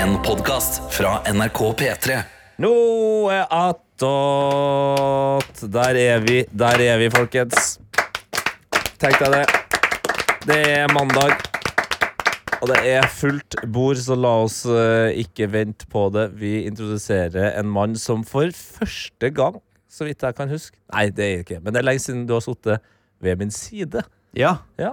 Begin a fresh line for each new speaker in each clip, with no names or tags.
En podcast fra NRK P3
Nå er attåt. Der er vi, der er vi, folkens. Tenk deg det. Det er mandag, og det er fullt bord, så la oss eh, ikke vente på det. Vi introduserer en mann som for første gang, så vidt jeg kan huske Nei, det er ikke men det er lenge siden du har sittet ved min side.
Ja,
Ja. ja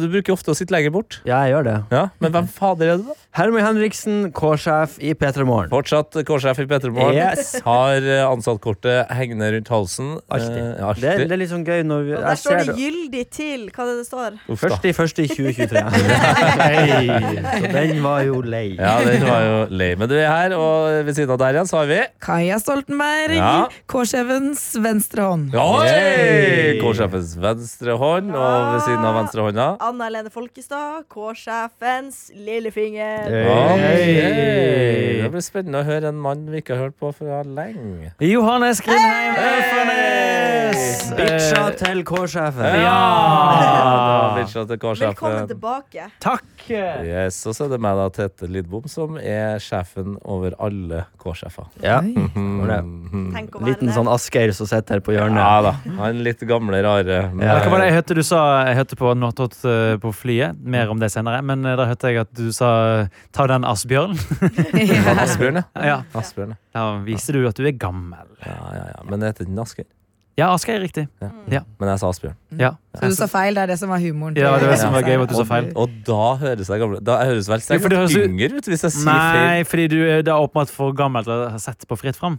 du bruker ofte å sitte lenger bort.
jeg gjør det.
Ja, Men hvem fader er du, da?
Hermøy Henriksen, K-sjef i P3 Morgen.
Fortsatt K-sjef i P3 Morgen.
Yes.
Har eh, ansattkortet hengende rundt halsen.
Alltid.
Eh,
Det, er-
alltid.
det er litt sånn gøy når vi,
Og der
jeg
står
ser
det
det.
'gyldig til'. Hva er det det står?
Uff, da.
Først i første i 2023. Hei, så den var jo lei.
Ja, den var jo lei. Men du er her, og ved siden av der igjen så har vi
Kaja Stoltenberg,
Ja.
K-sjefens venstre hånd.
Oi!
Yay!
K-sjefens venstre hånd, og ved siden av venstre hånda
Anna Helene Folkestad, K-sjefens lillefinger.
Hey.
Oi.
Yay!
Det blir spennende å høre en mann vi ikke har hørt på fra lenge.
Johannes Grindheim Ørfanes!
Hey!
Bitcha
Eh,
til K-sjefen.
Ja! Bitcha til K-sjefen.
Velkommen tilbake.
Takk!
Yes, og så er det meg, da, Tete Lidbom, som er sjefen over alle K-sjefer.
Ja,
Oi.
Mhm.
Tenk å være
liten
det.
sånn Asgeir som sitter her på
Ja
hjørnet.
da. Han litt gamle, rare. men-
Ja.
Hva var det jeg hørte du sa? Jeg hørte på Northot eh, på flyet. Mer om det senere. Men eh, da hørte jeg at du sa 'ta den asbjørnen'.
Han Asbjørn, ja.
ja.
Asbjørn, ja.
Da viser du at du er gammel.
ja, ja, ja. Men det heter den Asgeir.
Ja, Asgeir, riktig.
Men jeg sa Asbjørn.
Ja.
Så
Altså,
du sa feil, det er det som var humoren.
Ja, det var det som var gøy, at du sa
Og-
feil.
Og da høres jeg gamle Da jeg høres vel
Ja, for
sikkert
det høres ut-
yngre ut hvis jeg sier feil.
Nei, fordi du eh, er da åpenbart for gammel til å ha sett på Fritt fram.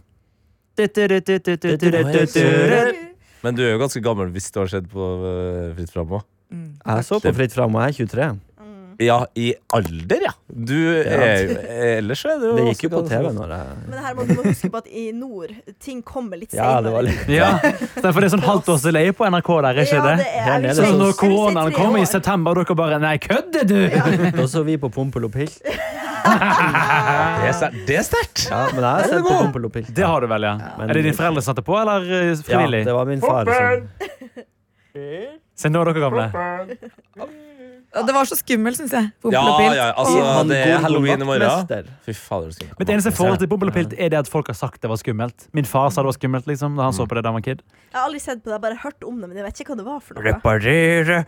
Men du er jo ganske gammel hvis du har sett på øh, Fritt fram òg.
Mm.
Jeg så på Fritt fram, og jeg er 23.
Mm.
Ja, i alder, ja. Du er jo Ellers så er du jo
Det gikk jo på
ganske-
TV når jeg
Men det her må du må huske på at i nord, ting kommer litt
Ja, det var
senere.
litt
Ja. Derfor er det sånn halvt års delay på NRK der, er ikke
Ja,
det?
det er-
Her nede
jeg vil si-
Sånn som
jeg
når
vil si
koronaen
tre
kom i
år.
september, og dere bare Nei, kødder du?!
Da så vi på Pompel og Pilt.
Det er sterkt. Det er sterkt.
Ja, men jeg har sett på Pompel og Pilt.
Det har du vel, ja.
Men-
Er det dine foreldre som satte på, eller eh,
Ja,
frivillig?
det var min far som
Se, nå er dere gamle.
Og det var så skummelt, syns jeg. Pompel
Ja,
og pilt.
ja, altså,
Åh.
Han
det er
Gorgon
halloween i morgen.
Vaktmester.
Fy fader, du skal
Mitt eneste forhold til Pompel og Pilt er det at folk har sagt det var skummelt. Min far sa det var skummelt liksom, da han så på det da han var kid.
Jeg har aldri sett på det, jeg har bare hørt om det, men jeg vet ikke hva det var for noe.
Reparere,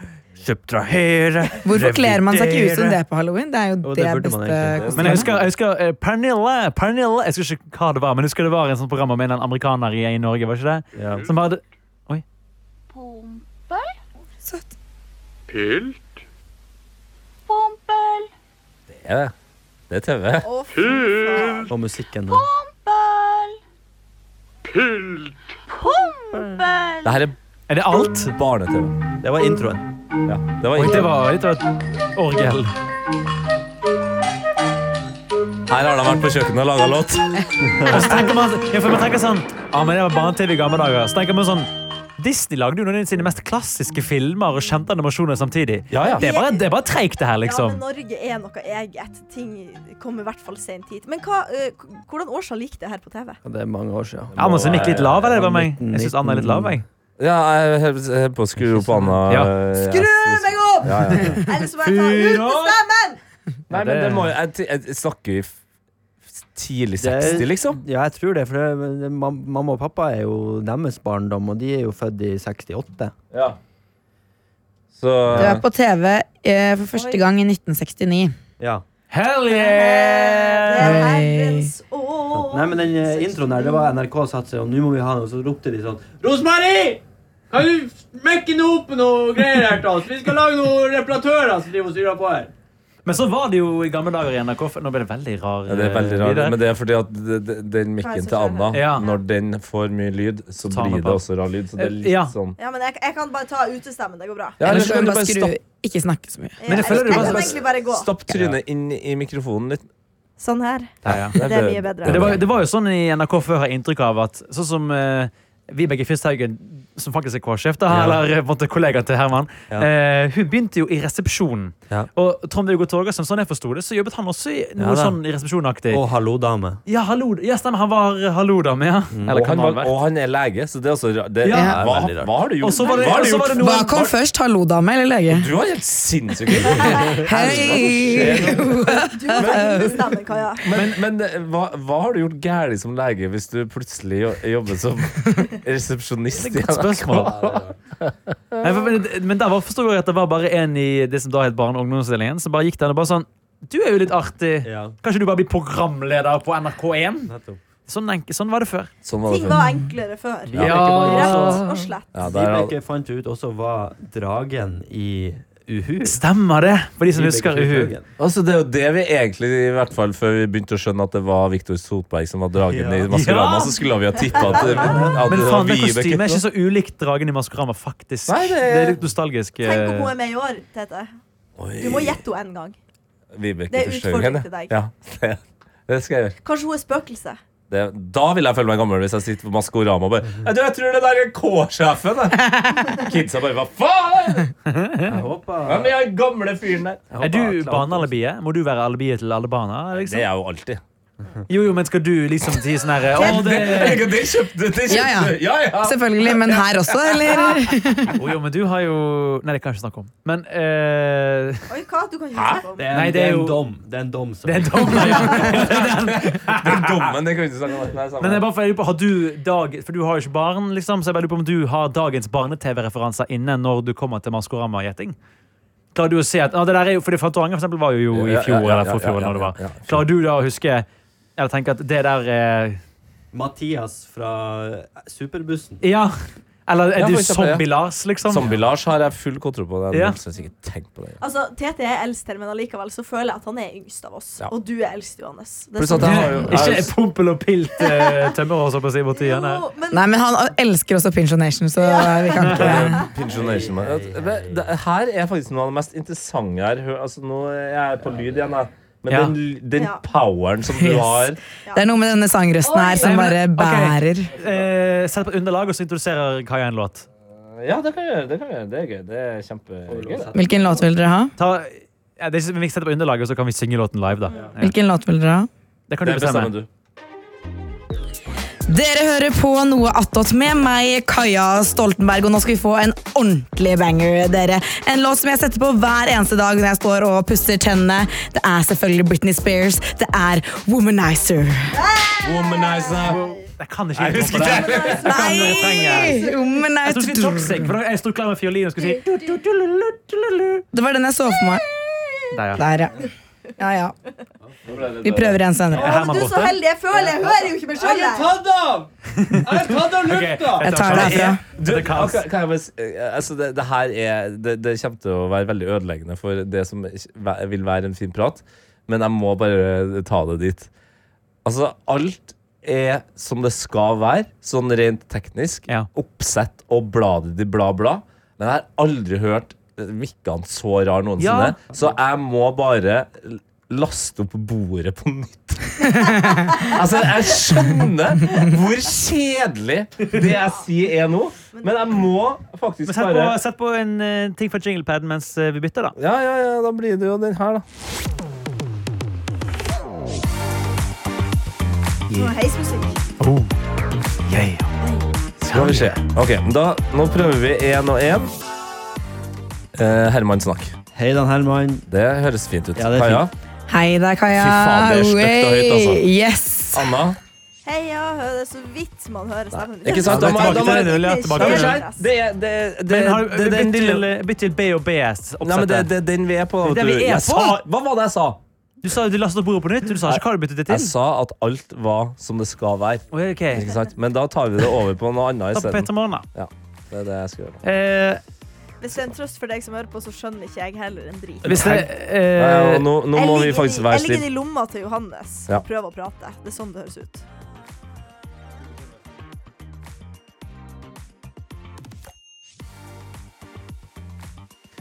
subtrahere
Hvorfor kler man seg ikke ut som det på halloween? Det er jo
Jo, det
det,
burde man
beste
egentlig.
Men jeg
kostymet.
husker, jeg husker eh, Pernille, Pernille Jeg husker ikke hva det var, men jeg husker det var en sånn program om en eller annen amerikaner i, i Norge. var ikke det?
Ja.
Som hadde
Pompel,
Søtt.
pompel,
Ja, det er TV.
Å, fy faen.
Og musikken
pompel. Pompel.
Det her er
Er det alt?
barne-TV.
Det var introen.
Ja, det var
Oi,
ikke
det var litt av et orgel.
Her har de vært på kjøkkenet og laga låt.
Og så tenker man, ja, for man tenker sånn Ja, men det var barne-TV i gamle dager. Så tenker man sånn Disney lagde jo noen av sine mest klassiske filmer og kjente animasjoner samtidig.
Ja, ja.
Det er bare, det er bare treigt, det her,
Ja, men
liksom.
Norge er noe eget. Ting kommer i hvert fall sent hit. Men hva, eh, k- hvordan årsak gikk det her på TV?
Og det er mange år siden.
Ja, men så Nick litt lav, eller? Det var meg. Jeg syns Anna er litt lav, jeg.
Ja, jeg holder på å skru opp Anna.
Ja.
Skru meg opp! Ja, ja, ja.
Eller så må jeg ta ut med stemmen!
Nei, men det må jo Jeg, jeg, jeg snakker i f- tidlig
Det er-
60, liksom.
Ja, jeg tror det, for det, det- mam- mamma og pappa er jo deres barndom, og de er jo født i 68.
Ja. Så
Du er på TV eh, for første gang i 1969.
Ja.
Hell
Det er
yeah!
herrens år.
Nei, men den eh, introen der, det var NRK satt seg, og nå må vi ha noe, så ropte de sånn Rosmarie! Kan du mekke noe opp noe greier her til oss? Vi skal lage noen reparatører som driver og styrer på her.
Men så var det jo i gamle dager i NRK. for Nå ble det veldig rar. eh,
ja, det er veldig rart,
lyd her.
men det er fordi at det- det- den
Hva er
mikken
det
til
som skjer
Anna,
her? Ja.
når den får mye lyd, så
Ta
blir
meg
det
på. Eh,
også rar lyd. Så det er litt
Ja.
sånn
Ja, men jeg, jeg kan bare ta utestemmen. Det går bra.
Ja,
Ellers
eller
kan
kan du
du bare
bare
skru
stapp-
ikke snakke så mye.
Men jeg føler
jeg, jeg
det var
kan
sånn-
egentlig bare gå.
Stapp trynet inn i mikrofonen litt.
Sånn her.
Ja, ja.
Det er mye bedre.
Det var, det var jo sånn i NRK før har jeg inntrykk av at sånn som eh, Vibeke Fyrsthaugen, som faktisk er K-sjef, da,
Ja.
eller på en måte kollega til Herman,
Ja.
eh, hun begynte jo i resepsjonen.
Ja.
Og Trond-Viggo Torgersen, sånn jeg forsto det, så jobbet han også i
Ja
noe
da.
sånn i resepsjonaktig.
Og hallo, dame.
Ja, hallo, ja, stemmer, han var eh, hallo-dame, ja.
Mm.
Eller
Og han,
kan han ha
var,
vært.
og han er lege, så det er også ra- det
Ja.
er hva,
Veldig rart.
hva har du gjort?
Og så var det-
hva har du
og så
gjort?
var det noe-
Hva kom først? Hallo, dame eller lege?
Du har helt sinnssyke ideer.
Hei!
Du må ta inn stemmen, Kaja.
Men, men eh, hva, hva har du gjort gærent som lege hvis du plutselig jo- jobber som resepsjonist?
Det er et godt spørsmål. Nei, for, men, men der var- forstod jeg at det var bare en i det som da het Barne- og ungdomsavdelingen, som bare gikk der og bare sånn Du er jo litt artig.
Ja,
Kanskje du bare blir programleder på NRK1?
nettopp.
Sånn, enk- sånn var det før.
Sånn var det
Ting
før.
var enklere før.
Ja.
Rett og slett.
Ja, der er-
Vibeke fant ut også hva dragen i Uhu
Stemmer det, for de som husker Uhu.
Vibeke
altså, det er jo det vi egentlig, i hvert fall før vi begynte å skjønne at det var Viktor Solberg som var dragen
Ja.
i Maskorama,
Ja!
så skulle vi ha tippa at, det- at
Men
det var
faen, det kostymet er
Vibeke.
ikke så ulikt dragen i Maskorama, faktisk.
Nei, det
det...
er-
er litt nostalgisk.
Tenk om hun
eh,
er med i år, Tete.
Oi.
Du må gjette henne en gang.
Vibeke
Det er
Forstaugen,
utfordring
ja.
til deg.
Ja, det, det skal jeg gjøre.
Kanskje hun er spøkelse.
Det, da vil jeg føle meg gammel hvis jeg sitter på Maskorama og bare «Nei, du, jeg tror det der er K-sjefen. jeg». Kidsa bare hva faen?
Jeg håper
Hvem er den gamle fyren der?
Er du barnealibiet? Må du være alibiet til alle barna?
Det
Liksom?
er jeg jo alltid.
Jo, jo, men skal du liksom si sånn her Å, det
Det kjøpte det
Ja, ja.
kjøpte- Ja, ja.
Selvfølgelig, men her også, eller?
Jo, jo, men du har jo Nei, det kan jeg ikke snakke om. Men eh,
Oi, hva? Du kan ikke huske om.
Det er,
Nei, det
det
er
er
jo-
en dom. Det er en dom som
Det er en dom, ja.
Den dommen, det kan vi ikke snakke om. Nei, samme.
Men jeg bare for jeg lurer på, har du dag, for du har jo ikke barn, liksom, så jeg bare lurer på om du har dagens barne-TV-referanser inne når du kommer til Maskorama-gjetting? Klarer du å se at, ah, det der er jo, fordi Fantorangen for eksempel var jo i
Ja, ja,
fjor,
ja, ja,
eller for fjor,
ja, ja,
eller når det var.
ja, ja, fjor.
Klarer du da å huske, eller tenke at det der eh, er,
Mathias fra Superbussen.
ja, eller er
Ja, for
du
eksempel, ja.
zombie Lars, liksom?
Zombie-Lars har jeg full kontroll på. Det.
Ja.
Jeg synes ikke tenk på det.
Altså, Tete er eldst her, men allikevel så føler jeg at han er yngst av oss.
Ja.
Og du er eldst, Johannes. Det er
Pluss at
sånn-
jeg har jo
Ikke pumpel og pilt eh, tømmer, så på å si, borti
Jo,
igjen her.
men
Nei, men han elsker også Pinch Nation, så vi kan ikke
Pensjonation, men- Det- det- Her er faktisk noe av det mest interessante her. Hør, Altså, nå er jeg på lyd igjen, da. Men
Ja.
den, den
Ja.
poweren som du
Yes.
har
Det er noe med denne sangrøsten her som bare bærer.
Eh, Sett på underlag, og så introduserer Kaja en låt.
Ja, det kan vi gjøre. Det, kan vi gjøre. det er gøy. Det er kjempegøy. det.
Hvilken låt vil dere ha?
Ta, ja, det er ikke, vi setter på underlaget, og så kan vi synge låten live, da. Ja.
Hvilken låt vil dere ha?
Det kan du
Det
bestemme.
bestemmer du.
Dere hører på noe attåt med meg, Kaja Stoltenberg, og nå skal vi få en ordentlig banger, dere. En låt som jeg setter på hver eneste dag når jeg står og pusser tennene. Det er selvfølgelig Britney Spears. Det er Womanizer.
Womanizer.
Jeg kan ikke
Jeg
innrømme
husker
det.
ikke det.
refrenget.
Nei!
Jeg skulle si
Womanizer.
toxic, for da jeg sto klar med fiolin og skulle si
Det var den jeg så for meg.
Der, ja.
Der, ja. Ja, ja. Vi prøver igjen senere.
Å, men du er så heldig. Jeg føler Jeg hører jo ikke meg sjøl,
Jeg er
jeg.
tatt av! Jeg er tatt av
Ok,
lufta!
Jeg tar det herfra.
Du,
Det er kaos.
kan- kan jeg bare, s- eh, altså det, det her er det, det kommer til å være veldig ødeleggende for det som ikke- vil være en fin prat, men jeg må bare ta det dit. Altså, alt er som det skal være, sånn rent teknisk.
Ja.
Oppsett og bladet i bla, bla. Men jeg har aldri hørt Mikkan så rar noensinne,
Ja.
så jeg må bare l- laste opp bordet på nytt. Altså, jeg skjønner hvor kjedelig det jeg sier er nå, men jeg må faktisk
Men sett på,
bare
sett på en eh, ting fra jinglepaden mens eh, vi bytter, da.
Ja, ja, ja, da blir det jo den her, da.
Sånn heismusikk.
Skal vi se. Ok, men da, Nå prøver vi én og én. Eh, Herman snakk.
Hei da, Herman.
Det høres fint ut.
Ja, det er
Kaja?
Hei der, Kaja.
Fy faen, det er støkt og høyt, altså.
Oi, Yes.
Anna?
Hei, ja, det er så vidt man hører stemmen din.
Ikke sant?
Ja,
Da
det er
må jeg- da må
tilbake
jeg-
til null, ja, tilbake
da må
til
jeg-
null.
Det er det, det,
Men har,
det, det, den
bytt, til,
lille-
bytt til B og B-oppsettet.
Nei, men det det er den vi er på.
Det er
vet
vi
du. Jeg
er på.
sa- Hva var det jeg sa?
Du sa du lastet opp bordet på nytt. Du sa ikke hva du byttet det
Jeg
til.
sa at alt var som det skal være.
Oi, ok.
Ikke sant? Men da tar vi det over på noe annet
Ta på
isteden.
Peter Morgen, da.
Det er det jeg skal gjøre.
Eh,
Hvis det er en trøst for deg som hører på, så skjønner ikke jeg heller en drit.
hvis det
Ja, ja, og
eh,
nå, nå
Jeg
må vi
ligger
faktisk
i-
være
Jeg ligger
stille.
i lomma til Johannes
Ja.
og prøver å prate. Det er sånn det høres ut.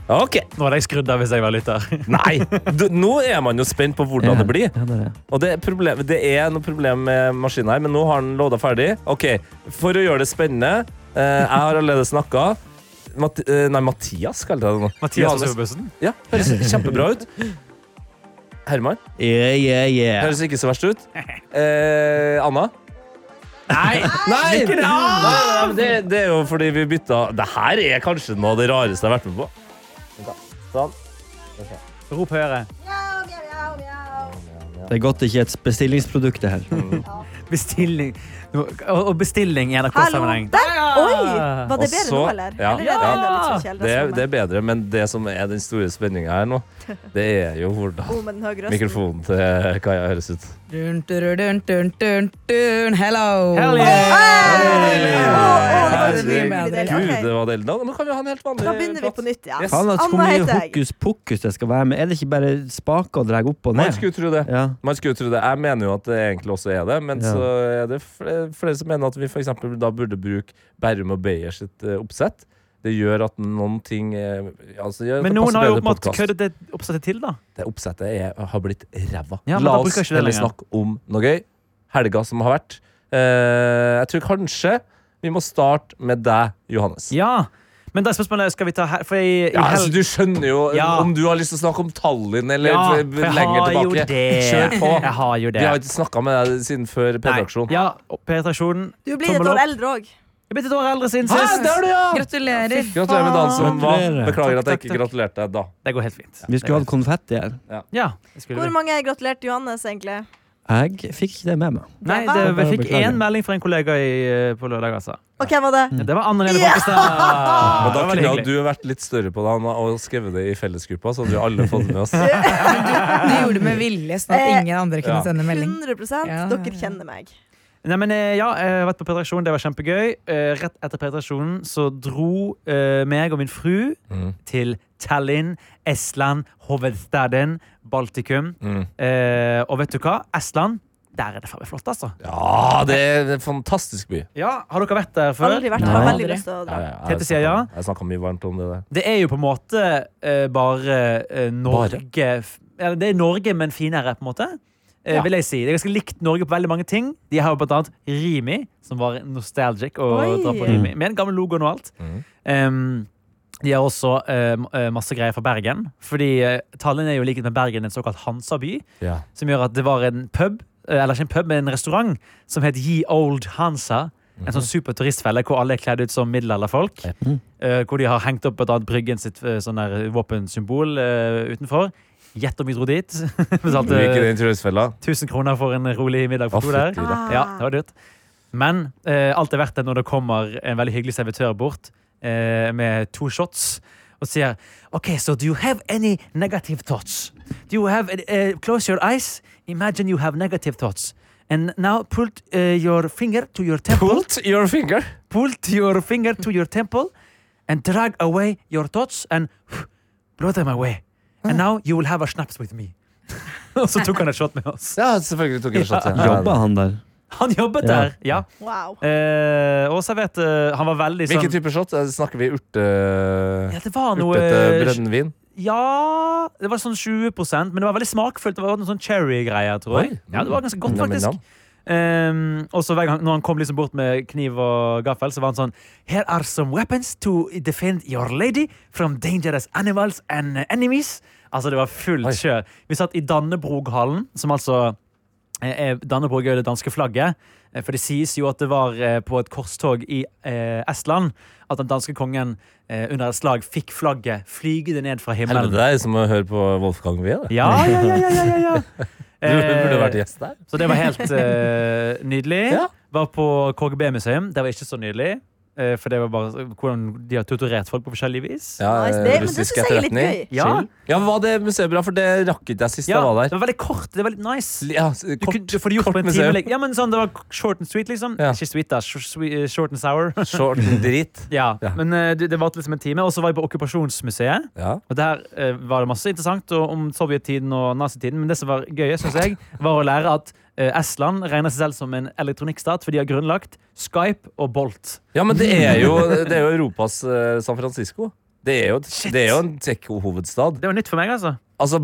OK.
Nå hadde jeg skrudd av hvis jeg var lytter.
Nei! Du, nå er man jo spent på hvordan det blir.
Ja, det er det.
Og det er, problem, det er noe problem med maskinen her, men nå har den låda ferdig. Ok, For å gjøre det spennende eh, Jeg har allerede snakka. Mat eh, nei, Mathias kalte jeg det nå.
Mathias og
Johannes.
Superbussen.
Ja, Høres kjempebra ut. Herman.
Yeah, yeah, yeah.
Høres ikke så verst ut. Eh, Anna.
Nei!
Nei! nei, nei, men det, det er jo fordi vi bytta Det her er kanskje noe av det rareste jeg har vært med på.
Rop høyere.
Det er godt det ikke er et bestillingsprodukt, det her.
Mm.
Bestilling Og og bestilling i
Hallo!
NRK-sammenheng.
Der! Oi! Var det
Og
bedre
så-
nå, eller?
ja.
Eller er det enda litt sånn kjeldre
Det, er-
som
det
meg?
er bedre, men det som er den store spenninga her nå, det er jo hvordan
Oh, med den høye røsten.
mikrofonen til Kaja høres ut.
Dun, dun, dun, dun, dun, dun. Hello!
Hell yeah!
Å, å, det var
Herregud,
mye bedre. Ok.
det var deilig. Da, nå kan vi ha en helt vanlig
Da begynner vi
prat.
på nytt, ja.
Yes.
Faen, altså, hvor
Anna
mye
heter jeg.
hokus pokus det skal være med. Er det ikke bare spaker og drar opp og
Man
ned?
skulle tro det.
Ja.
Man skulle tro det. Jeg mener jo at det egentlig også er det, men
Ja.
så er det fl- flere som mener at vi for eksempel da burde bruke Berrum og Beyer sitt eh, oppsett. Det gjør at noen ting eh, altså, gjør at
Men
det
noen
passer
har jo
bedre
åpenbart
podcast.
køddet det oppsettet til, da.
Det oppsettet er, har blitt ræva.
Ja, men
La
da
oss
bruker jeg ikke det
heller
lenger.
snakke om noe gøy. Helga som har vært. Eh, jeg tror kanskje vi må starte med deg, Johannes.
Ja. Men det er spørsmålet skal vi ta her For jeg, i
Ja, altså,
helg-
du skjønner jo
Ja.
om du har lyst til å snakke om Tallinn eller
Ja,
f-
for jeg
lenger
har jo
tilbake.
det.
Kjør på.
Jeg har jo det.
Vi har ikke snakka med deg siden før
Nei.
P-traksjon.
Ja, og P-traksjonen.
Du blir et
Tommel
år
opp.
eldre òg.
Jeg er blitt et år eldre siden
Hæ,
sist.
det er du, ja!
Gratulerer.
Gratulerer med dagen som var.
Gratulerer.
Beklager
Takk,
at jeg
takk,
ikke gratulerte deg da.
Det går helt fint.
Vi skulle hatt konfetti her.
Ja, det skulle
Hvor
vi.
mange gratulerte Johannes, egentlig?
Jeg fikk ikke det med meg.
Nei, det,
var-
vi fikk
Beklager.
én melding fra en kollega i, eh, på lørdag, altså.
Og hvem var det?
Ja, Det var Anne Lene
Ja!
Folkestad.
Men da
Det var veldig
kunne
hyggelig.
du vært litt større på det Anna, og skrevet det i fellesgruppa, så hadde vi alle fått med oss.
Du gjorde det med vilje, sånn at
Eh,
ingen andre kunne
ja.
sende melding.
100
Ja.
Dere kjenner meg.
Nei, men eh, ja, jeg har vært på P-traksjonen, det var kjempegøy. Eh, Rett etter P-traksjonen så dro eh, meg og min fru
Mm.
til Tallinn, Estland, hovedstaden, Baltikum.
Mm.
Eh, og vet du hva? Estland, der er det faen meg flott, altså.
Ja, det er en fantastisk by.
Ja, Har dere vært der før?
Aldri vært her. Har
Nei.
veldig lyst til å dra.
Tete sier ja.
Jeg snakka mye varmt om det der.
Det er jo på en måte eh, bare eh, Norge f- Ja, Det er Norge, men finere, på en måte. Eh,
Ja.
vil jeg si. Det er ganske likt Norge på veldig mange ting. De har jo blant annet Rimi, som var nostalgic og
Oi.
dra på Rimi, med den gamle logoen og alt.
Mhm.
Em, de har også eh, m- eh, masse greier fra Bergen. Fordi eh, Tallinn er jo i likhet med Bergen en såkalt Hansaby.
Ja.
som gjør at det var en pub, eh, eller ikke en pub, men en restaurant som het Ye Old Hansa. En sånn super turistfelle hvor alle er kledd ut som middelalderfolk. eh, Hvor de har hengt opp et annet Bryggen sitt eh, sånn der våpensymbol eh, utenfor. Gjett om vi dro dit.
Du gikk i
Betalte
den turistfella?
1000 kroner for en rolig middag for
Å,
to der.
fytti da.
Ah.
Ja, det var dyrt. Men eh, alt er verdt det når det kommer en veldig hyggelig servitør bort eh, med to shots og sier OK, so do you have any negative thoughts? Do you have eh, Close your eyes. Imagine you have negative thoughts. And now put eh, your finger to your temple.
Pult your finger.
Put your finger to your temple and drag away your thoughts and blow them away. And
Ah.
now you will have a snaps with me. og så tok han et shot med oss.
Ja, selvfølgelig tok jeg en shot. ja.
Jobba han der?
Han jobbet
Ja.
der, ja.
Wow.
Eh, og serverte Han var veldig sånn
Hvilken type shot? Eh, Snakker vi urte...
Ja, det var noe
Urtete brennevin?
Ja, det var sånn 20 men det var veldig smakfullt. Det var noe sånn cherry-greier, tror jeg.
Oi.
Ja, det var ganske godt,
Nam, nam,
faktisk.
nam.
Um, og så hver gang når han kom liksom bort med kniv og gaffel, så var han sånn Here are some weapons to defend your lady from dangerous animals and enemies. Altså, det var fullt
Oi.
kjør. Vi satt i Dannebroghallen, som altså eh, er- Dannebrog er jo det danske flagget. Eh, For det sies jo at det var eh, på et korstog i eh, Estland at den danske kongen eh, under et slag fikk flagget flygende ned fra
Helvete,
himmelen.
det er som å høre på Wolfgang Wie. det.
Ja, ja, ja, ja, ja, ja. Eh,
Du burde vært gjest der.
så det var helt eh, nydelig.
Ja.
Var på KGB-museum. Det var ikke så nydelig. eh, for det var bare hvordan de har tutorert folk på forskjellig vis.
Ja, eh,
Nice. Det, men det syns jeg er litt gøy.
Ja,
Ja, var det museet bra? For det rakk ikke jeg sist
ja,
jeg var
det
der.
var veldig kort. Det var litt nice.
Ja, s-
Du
kort,
kunne, du får det gjort
kort
på en time,
museum.
like- ja, men sånn, det var short and sweet, liksom.
Ja.
Ikke sweet, da. sh- swe- eh, Short and sour.
Short drit.
Ja,
Ja.
Men eh, det, det varte liksom en time. Og så var jeg på Okkupasjonsmuseet.
Ja.
Og der eh, var det masse interessant og om sovjettiden og nazitiden, men det som var gøy, synes jeg, var å lære at eh, Estland regner seg selv som en elektronikkstat, for de har grunnlagt Skype og Bolt.
ja, men det er jo, det er jo Europas eh, San Francisco. Det er jo, det er jo en tech-hovedstad.
Det var nytt for meg, altså.
Altså,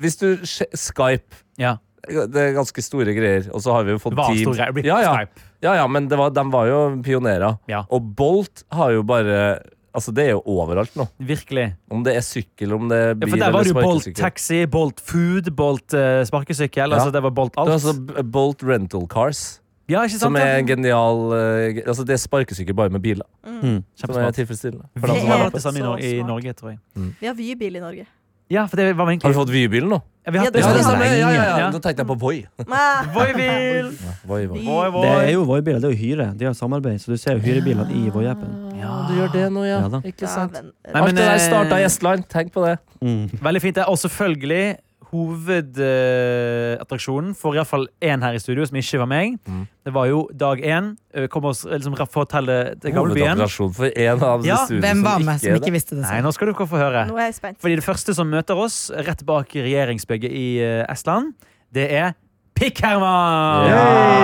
hvis du sj- Skype
Ja.
Det er ganske store greier. Og så har vi jo fått
Var
Teams.
stor greie. Blitt
Ja, ja.
Skype.
Ja, ja, men det var, de var jo pionerer.
Ja.
Og Bolt har jo bare Altså, det er jo overalt nå.
Virkelig.
Om det er sykkel, om det er
Ja,
bil
for der var det jo Bolt
sparkesykkel.
taxi, Bolt food, Bolt eh, sparkesykkel.
Ja.
Altså, det var Bolt
Det er
alt.
altså B- Bolt Rental Cars,
ja, ikke sant?
som er en
ja?
genial eh, ge- Altså, det er sparkesykkel bare med biler.
Mm.
Mm.
Som Sånn er
Kjempesmart.
tilfredsstillende.
For det
Det
var
er
det samme i, Nor i
så smart.
Norge, tror jeg.
Vi har Vybil i Norge.
Ja, for det var egentlig
Har du fått Vybil nå?
Ja, vi har hatt
Ja,
det
det
sånn
samme,
lenge.
ja, ja, ja.
Ja.
Da tenkte jeg på Voi.
Voibil!
Voi, voi.
Voi, voi.
Det er jo Voi-biler, det er jo hyre. De har samarbeid, så du ser jo hyrebilene i Voi-appen.
Ja, du gjør det nå, ja.
Ja da.
Ikke sant.
Nei,
Dæven.
Alt
men,
det der
eh,
starta i Estland. Tenk på det.
Veldig fint. det. Og selvfølgelig eh, hovedattraksjonen for iallfall én her i studio, som ikke var meg.
Mm.
Det var jo dag én. Eh, Kom oss eh, liksom, fra fortelle til gamlebyen.
Hovedoperasjon for en av de
Ja,
studioene
Hvem var med som
er
ikke
det.
visste det? sånn?
Nei, nå skal du ikke få høre.
Nå er jeg spent.
Fordi det første som møter oss rett bak regjeringsbygget i eh, Estland, det er Pikkherman!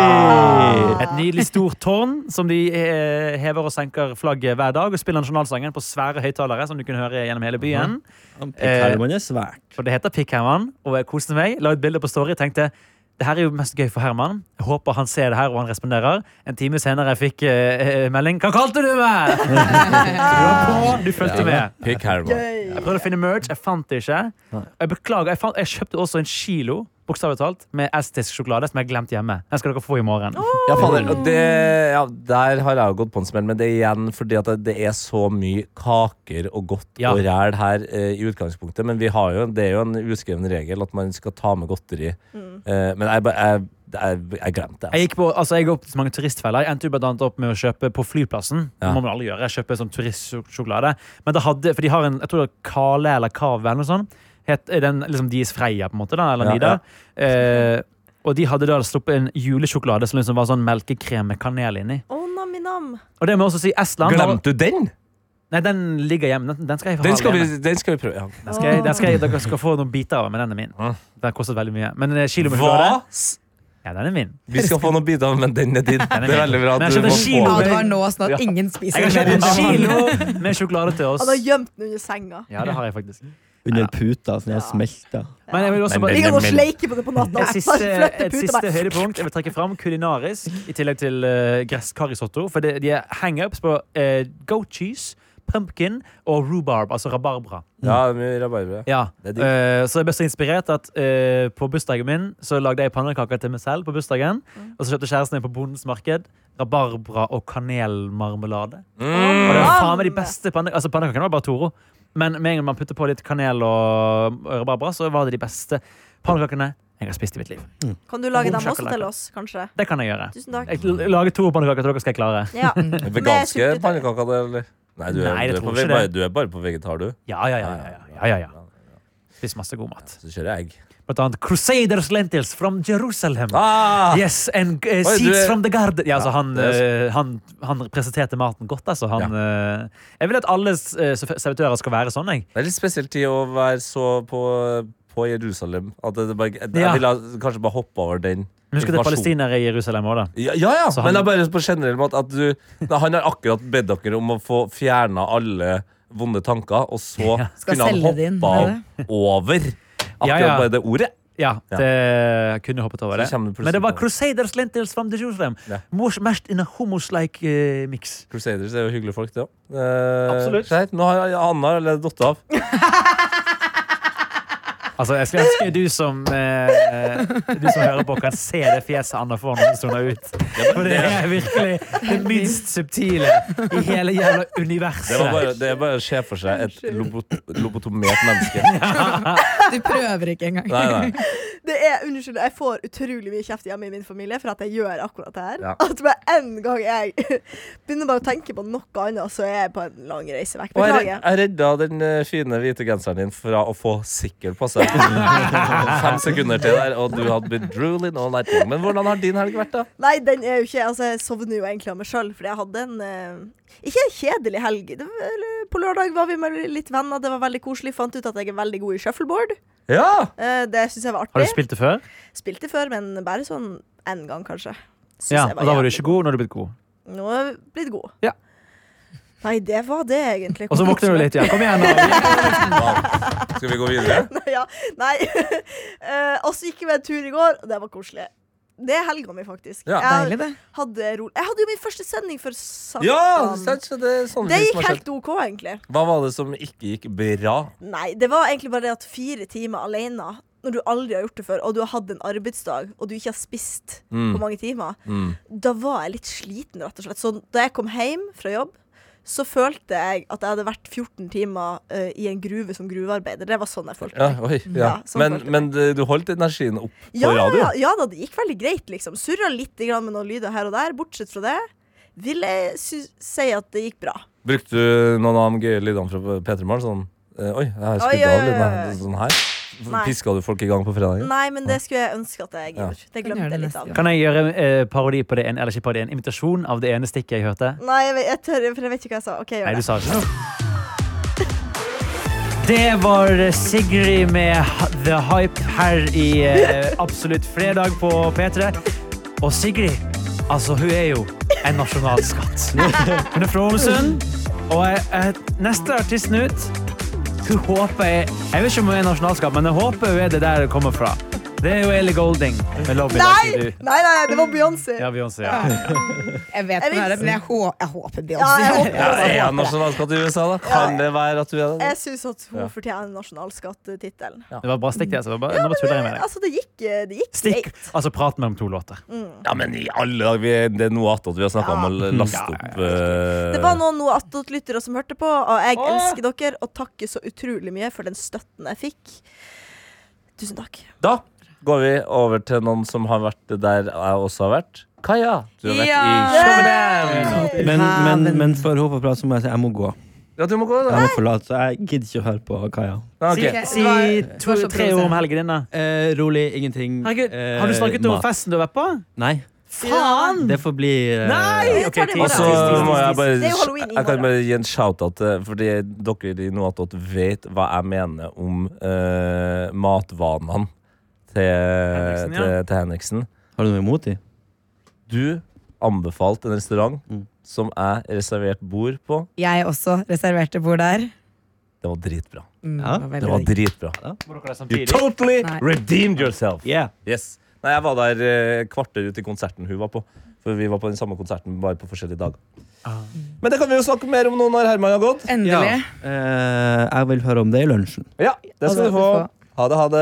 Yay!
Et nydelig stort tårn som de eh, hever og senker flagget hver dag. Og spiller nasjonalsangen på svære høyttalere, som du kunne høre gjennom hele byen.
Herman Eh, er svært.
For det heter Pikkherman, og jeg koste meg. La ut bilde på Story. Tenkte det her er jo mest gøy for Herman. Jeg håper han ser det her og han responderer. En time senere fikk eh, eh, melding Hva kalte du meg?! Så du var på, du fulgte med.
Pick Herman.
Jeg prøvde å finne merch, jeg fant det ikke. Og jeg beklager, jeg, fant, jeg kjøpte også en kilo bokstavelig talt, med estisk sjokolade som jeg glemte hjemme. Den skal dere få i morgen.
Ja,
Mm.
fader. Og det, ja, der har jeg jo gått på en smell, men det er igjen fordi at det- det er så mye kaker og godt
Ja.
og ræl her eh, i utgangspunktet. Men vi har jo, det er jo en uskreven regel at man skal ta med godteri. Eh, men jeg, bare- jeg, jeg, jeg glemte det.
Mm. Jeg gikk på, altså jeg gikk opp til så mange turistfeller. Jeg endte jo blant annet opp med å kjøpe på flyplassen. Det
Ja.
må man aldri gjøre. Kjøpe sånn turistsjokolade. Men det hadde, for de har en, jeg tror det er Kale eller Kave eller noe sånt. Het, er den liksom Dies Freia, på en måte, da, eller
Ja,
Nida. Eh, og de hadde da sluppet en julesjokolade som liksom var sånn melkekrem med kanel inni.
Å, nam-i-nam.
Og det må jeg også si Estland har-
Glemte du den?
Nei, den ligger hjemme. Den, den skal jeg ha
Den skal
hjemme.
vi, den skal vi prøve. Ja.
Den skal jeg, den skal jeg, dere skal få noen biter av, men den er min.
Mm.
Den har kostet veldig mye. Men eh, kilo med sjokolade,
Hva? S-
ja, den er min.
Vi skal få noen biter av, men den er din. Det er veldig bra.
Men
at
jeg
du må
skjønner
få
kilo.
den.
Advar nå, sånn
Ja.
at ingen spiser
Jeg
mer
har kjøpt
enn
en
han.
kilo med sjokolade til oss.
Han har gjemt den under senga.
Ja, det har jeg faktisk.
Under puta, sånn jeg har smelta.
Men jeg vil også
Men
bare
Ligger han og
men-
sleiker på det på natta.
et siste,
Flytter
et
puta
siste
bare.
høydepunkt jeg vil trekke fram kulinarisk, i tillegg til uh, gresskarrisotto. For det, de er hangups på eh, goat cheese, pumpkin og rhubarb, altså rabarbra.
Ja, mye rabarbra.
Ja.
Det er digg.
eh, så jeg ble så inspirert at eh, på bursdagen min så lagde jeg pannekaker til meg selv. på bursdagen Og så kjøpte kjæresten min på Bondens Marked rabarbra og kanelmarmelade.
Mm.
Og det var faen meg de beste panne Altså Pannekakene var bare Toro. Men med en gang man putter på litt kanel og og rabarbra, så var det de beste pannekakene jeg har spist i mitt liv.
Kan du lage
Bom
dem også
sjokolade.
til oss, kanskje?
Det kan jeg gjøre.
Tusen takk.
Jeg l- lager to pannekaker til dere skal jeg klare.
Ja.
Veganske
Med substitutt.
pannekaker, det, eller? Nei, du er,
Nei, jeg
du, er på,
tror ikke
bare,
det.
du er bare på vegetar, du.
Ja, ja, ja. ja, ja, ja, ja, ja. Spis masse god mat.
Så kjører jeg egg.
Blant annet Crusaders Lentils from Jerusalem.
Ah!
Yes, and eh,
Oi, du
seeds
er-
from the garden. Ja, altså, han,
det er
eh, han, han presenterte maten godt, altså. Han, eh, jeg vil at alle eh, servitører skal være sånn, jeg.
Det er litt spesiell tid å være så på, på Jerusalem. At det bare, jeg
Ja.
ville kanskje bare hoppe over den.
Men Husk at det er
informasjonen.
palestinere i Jerusalem òg, da.
Ja, ja, ja.
Så han-
men det er bare på generell måte at du Nei, Han har akkurat bedt dere om å få fjerna alle vonde tanker, og så
Ja.
Skal
kunne han
selge det inn,
hoppa
er
over akkurat
Ja, ja.
bare det ordet.
Ja,
Ja.
det kunne hoppet over
Så
det.
kommer det plutselig
Men det var
på.
Crusaders Lentils from Jerusalem.
Ja.
Most, mest in a hummus-like eh, mix.
Crusaders er jo hyggelige folk, det òg. Eh,
Absolutt.
Skjeit. Nå har jeg- Anna allerede datt av.
Altså, jeg skulle ønske du som, eh, du som hører på, kan se det fjeset Anna får når hun soner ut. For det er virkelig det minst subtile i hele jævla universet.
Det, var bare, det er bare å se for seg et lobot lobotomert menneske.
Du prøver ikke engang.
Nei, nei.
Det er, unnskyld, jeg får utrolig mye kjeft hjemme i min familie for at jeg gjør akkurat det her.
Ja.
At med en gang jeg begynner bare å tenke på noe annet, så er jeg på en lang reise vekk.
Og jeg, red-
Beklager.
jeg redda den eh, fine hvite genseren din fra å få sikkel på seg. Fem sekunder til der, og du hadde blitt drooling all night long. Men hvordan har din helg vært, da?
Nei, den er jo ikke Altså, jeg sovner jo egentlig av meg sjøl, fordi jeg hadde en eh, Ikke en kjedelig helg. Det var, eller, på lørdag var vi med litt venner, det var veldig koselig. Fant ut at jeg er veldig god i shuffleboard.
Ja!
Eh, det syns jeg var
Har du
artig.
spilt det før?
Spilte før, men bare sånn én gang, kanskje. Synes
Ja,
jeg
og da var du
jævlig
ikke god.
Nå
Nå har du blitt god.
er jeg blitt god.
Ja.
Nei, det var det egentlig.
Og så våkner du litt igjen. Kom igjen. da.
Skal vi gå videre?
Nei, ja. Nei. Eh, og så gikk vi en tur i går, og det var koselig. Det er helga mi, faktisk.
Ja.
jeg,
Deilig, det.
hadde ro jeg hadde jo min første sending for Satan.
Ja! sant, så Det, er sånne
det
ting som
gikk
har skjedd.
helt OK, egentlig.
Hva var det som ikke gikk bra?
Nei, det var egentlig bare det at fire timer alene når du aldri har gjort det før, og du har hatt en arbeidsdag, og du ikke har spist
Mm,
på mange timer, da var jeg litt sliten, rett og slett. Så da jeg kom hjem fra jobb, så følte jeg at jeg hadde vært 14 timer eh, i en gruve som gruvearbeider. Det var sånn jeg følte.
Ja, oi, ja.
Ja, sånn
men,
følte jeg.
men det- du holdt energien opp på
Ja,
radio?
ja, ja da, det gikk veldig greit, liksom. Surra litt grann med noen lyder her og der. Bortsett fra det vil jeg sy si at det gikk bra.
Brukte du noen av de gøye lydene fra P3 Morgen? Sånn eh, Oi, jeg har
Oi,
skrudd
oi,
av
oi, oi.
lyden. Sånn her.
Nei.
Piska du folk i gang på fredagen?
Nei, men det skulle jeg ønske at jeg
Ja.
gjorde. Det
Kan gjøre
glemte jeg
det
litt
neste
av.
gang.
Kan jeg gjøre eh, parodi på det ene, eller ikke parodi, en invitasjon av det ene stikket jeg hørte?
Nei, jeg, vet- jeg tør, for jeg vet ikke hva jeg sa. OK,
Nei,
gjør
du
det.
sa ikke noe. Det var Sigrid med H- The Hype her i eh, Absolutt fredag på P3. Og Sigrid, altså hun er jo en nasjonalskatt. Hun er fra Ålesund, og jeg, jeg, neste artisten ut hun håper jeg, jeg vet ikke om hun er nasjonalskatt, men jeg håper hun er det der hun kommer fra. Det er jo Ellie Golding med Love Me Like
Nei!
You Do.
Nei, nei, det var Beyoncé.
Ja, Beyoncé. Ja.
Jeg vet
Jeg
den er
vil-
det, men jeg, hå jeg håper
Ja, jeg
Beyoncé.
håper
Ja,
det. Eh.
er han nasjonalskatt i USA, da? Kan det være eh, at du er det?
Jeg syns at hun fortjener nasjonalskattetittelen.
Det var et bra stikk, det. Altså. Det var Bare, nå bare tuller jeg med deg.
Altså, det gikk, eh, det gikk
Stikk,
greit.
altså prat mellom to låter.
Ja, men i alle dager! vi er- Det er noe attåt vi har snakka om å laste opp eh,
Det var noen noe attåtlyttere som hørte på, og jeg elsker dere og takker så utrolig mye for den støtten jeg fikk. Tusen takk.
Da går vi over til noen som har vært der jeg også har vært. Kaja, du har vært i Showdown.
Men, men, men for å håpe på prat, så må jeg si jeg må gå.
Ja, du må gå, da.
Jeg må forlate, så jeg gidder ikke å høre på Kaja.
Ja, ok.
Sikkert.
Si
Det var-
to,
det var så
tre ord om helgen din, da.
Eh, rolig, ingenting.
Herregud,
Eh,
har du snakket om
mat.
festen du har vært på?
Nei.
Faen!
Det får bli eh,
Nei!
Jeg tar det i
Og så
morgen.
må jeg bare
Det er jo halloween i
Jeg kan
morgen.
bare gi en shout-out til Fordi dere i Noatot vet hva jeg mener om eh, matvanene til
Henriksen,
Henriksen,
ja.
til, til Henriksen.
Har du noe imot dem?
Du anbefalte en restaurant
Mm.
som jeg reserverte bord på.
Jeg også reserverte bord der.
Det var dritbra.
Mm,
Ja,
det var
Det
veldig
var
digg.
dritbra. You
Samtidig.
totally
Nei.
redeemed yourself.
Yeah.
Yes. Nei, jeg var der eh, kvarter ut i konserten hun var på. For vi var på den samme konserten, bare på forskjellige dager.
Ah.
Men det kan vi jo snakke mer om nå når Herman har gått.
Ja.
Endelig.
Eh, jeg vil høre om det i lunsjen.
Ja, det skal
det
du få.
skal du få.
Ha det, ha det.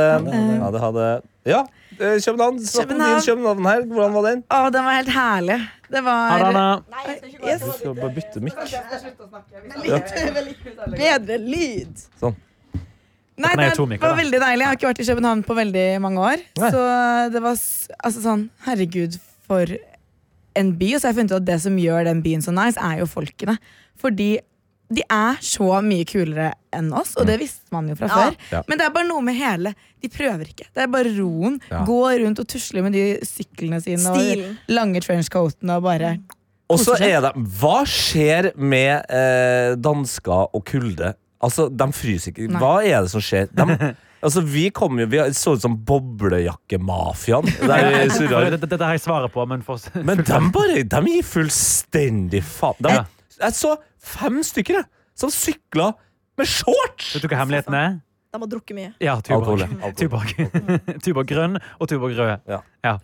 Ha det, ha det. Ja, eh, København. Snakk om din
København.
København her. Hvordan var den?
Å, den var helt herlig. Det var
Harana.
Yes.
Du skal bare bytte mikk.
Bedre lyd.
Sånn.
Nei,
kan jeg
det
gjøre to mikker,
var
da.
veldig deilig. Jeg har ikke vært i København på veldig mange år.
Nei.
Så det var s- altså sånn Herregud, for en by. Og så har jeg funnet ut at det som gjør den byen så nice, er jo folkene. Fordi de er så mye kulere enn oss, og det visste man jo fra
Ja.
før.
Mm. Ja.
Men det er bare noe med hele De prøver ikke. Det er bare roen.
Ja.
Gå rundt og tusle med de syklene sine
Stilen.
og de lange trenchcoatene og bare
Og så er det Hva skjer med eh, dansker og kulde? Altså, de fryser ikke.
Nei.
Hva er det som skjer? De, altså, vi kom jo Vi så ut som boblejakkemafiaen. Der vi surra
Dette, dette har jeg svaret på, men for...
Men de bare De gir fullstendig faen. De,
Ja.
Jeg så fem stykker jeg, som sykla med shorts!
Vet du hva hemmeligheten er?
De har drukket mye.
Ja,
Alkohol,
tubakk.
ja. Alkohol.
Tubakk Tubakk grønn og tubakk rød.
Ja.
Ja.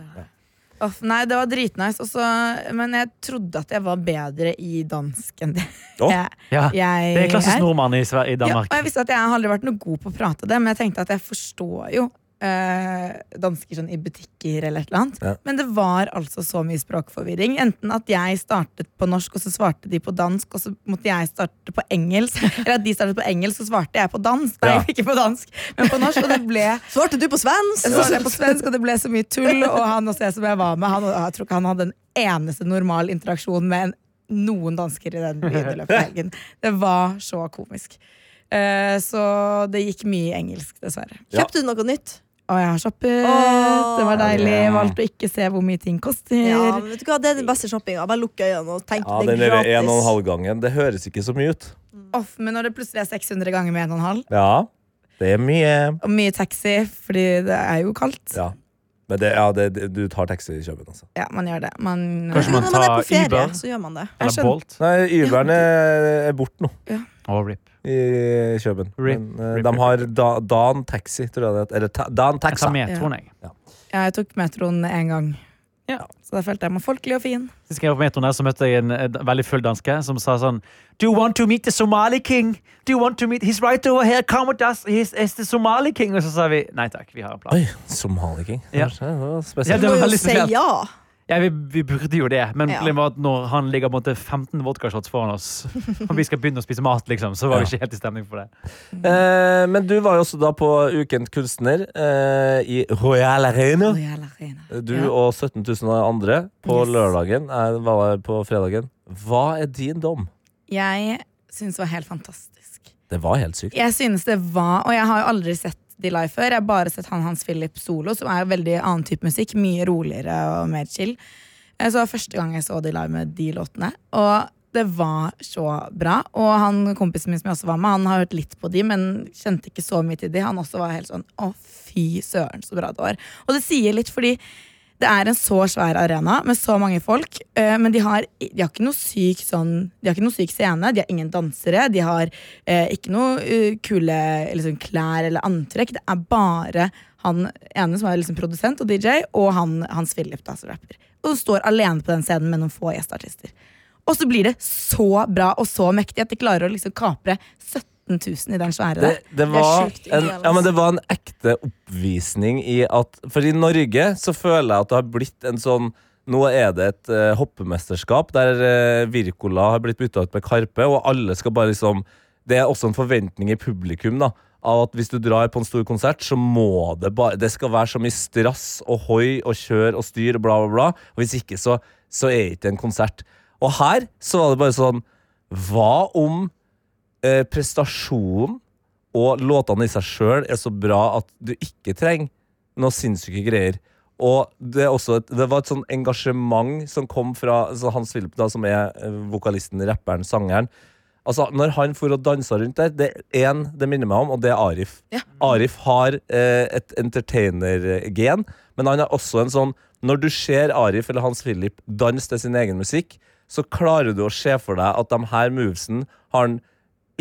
Åh, nei, det var dritnice. og så- men jeg trodde at jeg var bedre i dansk enn det
Åh.
jeg,
Ja.
jeg
Det er klassisk nordmann i, Sverige, i
Ja, og
Danmark.
jeg visste at jeg har aldri vært noe god på å prate det, men jeg tenkte at jeg forstår jo eh, dansker sånn i butikker eller et eller annet.
Ja.
Men det var altså så mye språkforvirring. Enten at jeg startet på norsk, og så svarte de på dansk, og så måtte jeg starte på engelsk. Eller at de startet på engelsk, så svarte jeg på dansk. Nei,
Ja.
ikke på dansk, men på norsk. Og det ble
Svarte du på svensk?
så var jeg på svensk, og det ble så mye tull. Og han også jeg som jeg var med, han, jeg tror ikke han hadde en eneste normal interaksjon med en, noen dansker i den byen i løpet av helgen. Det var så komisk. Eh, så det gikk mye engelsk, dessverre.
Ja.
Kjøpte du noe nytt?
Og jeg har shoppet.
Åh.
det var deilig. Valgte å ikke se hvor mye ting koster.
Ja, men vet du hva, Det er den beste shoppinga. Bare lukk øynene og tenk
Ja,
det
den
er
der en og en
gratis.
halv gangen. Det høres ikke så mye ut.
Off, men når det plutselig er 600 ganger med 1,5,
Ja, det er mye.
og mye taxi fordi det er jo kaldt,
Ja. Men det, ja, det, det, du tar taxi i København, altså.
Ja, man gjør det. Man,
Kanskje man
Når man er
tar
på ferie,
Uber?
så gjør man det.
Jeg
Eller
skjønner.
Bolt.
Nei, Uberen er, er borte nå,
Å, rip.
i København.
Rip,
Men eh,
rip,
de
rip.
har da, Dan Taxi, tror jeg det heter. Eller ta, Dan
Jeg
Taxa.
tar metroen, jeg.
Ja, jeg tok metroen en gang. Så da følte jeg meg folkelig og fin.
Sist gang jeg var på metroen her, så møtte jeg en, en veldig full danske som sa sånn Do you want to meet the Somali king? Do you want to meet He's right over here, come with us, he's, he's the Somali king. Og så sa vi nei takk, vi har en plan.
Oi, Somaliking.
Ja.
Det var
Ja,
spesielt.
Du
det
må
var
jo
veldig
si
spesielt.
ja.
Ja, vi, vi burde jo det, men
Ja.
problemet var at når han ligger på en måte 15 vodkashots foran oss, og vi skal begynne å spise mat, liksom, så var
Ja.
vi ikke helt i stemning for det.
Eh, men du var jo også da på Ukent kunstner eh, i Royal Arena.
Å, jævla rene.
Du
Ja.
og 17 000 andre på
Yes.
lørdagen. Jeg var der på fredagen. Hva er din dom?
Jeg syns det var helt fantastisk.
Det var helt sykt.
Jeg synes det var Og jeg har jo aldri sett de live før. Jeg har bare sett han Hans Philip solo, som er jo veldig annen type musikk. Mye roligere og mer chill. Eh, Så det var første gang jeg så de live med de låtene. Og det var så bra. Og han kompisen min som jeg også var med, han har hørt litt på de, men kjente ikke så mye til de. Han også var helt sånn Å, fy søren, så bra det var. Og det sier litt, fordi det er en så svær arena med så mange folk, eh, men de har, de har ikke noe syk sånn De har ikke noe syk scene, de har ingen dansere, de har eh, ikke noe eh, kule liksom, klær eller antrekk. Det er bare han ene som er liksom produsent og DJ, og han, Hans Philip da, som rapper. Og står alene på den scenen med noen få gjesteartister. Og så blir det så bra og så mektig at de klarer å liksom kapre 17 000 i den svære
Det,
der.
det,
er
var
sjukt
en,
ideelt.
ja, men det var en ekte oppvisning i at For i Norge så føler jeg at det har blitt en sånn Nå er det et eh, hoppemesterskap der eh, Wirkola har blitt bytta ut med Karpe, og alle skal bare liksom Det er også en forventning i publikum da av at hvis du drar på en stor konsert, så må det bare Det skal være så mye strass og hoi og kjør og styr og bla, bla, bla. Og hvis ikke, så, så er det ikke en konsert. Og her så var det bare sånn Hva om eh, prestasjonen og låtene i seg sjøl er så bra at du ikke trenger noe sinnssyke greier. Og det, er også et, det var et sånn engasjement som kom fra altså Hans Philip, da, som er eh, vokalisten, rapperen, sangeren. Altså, Når han for og dansa rundt der, det er én det minner meg om, og det er Arif.
Ja.
Arif har eh, et entertainer-gen, men han har også en sånn Når du ser Arif eller Hans Philip danse til sin egen musikk, så klarer du å se for deg at de her movesen har han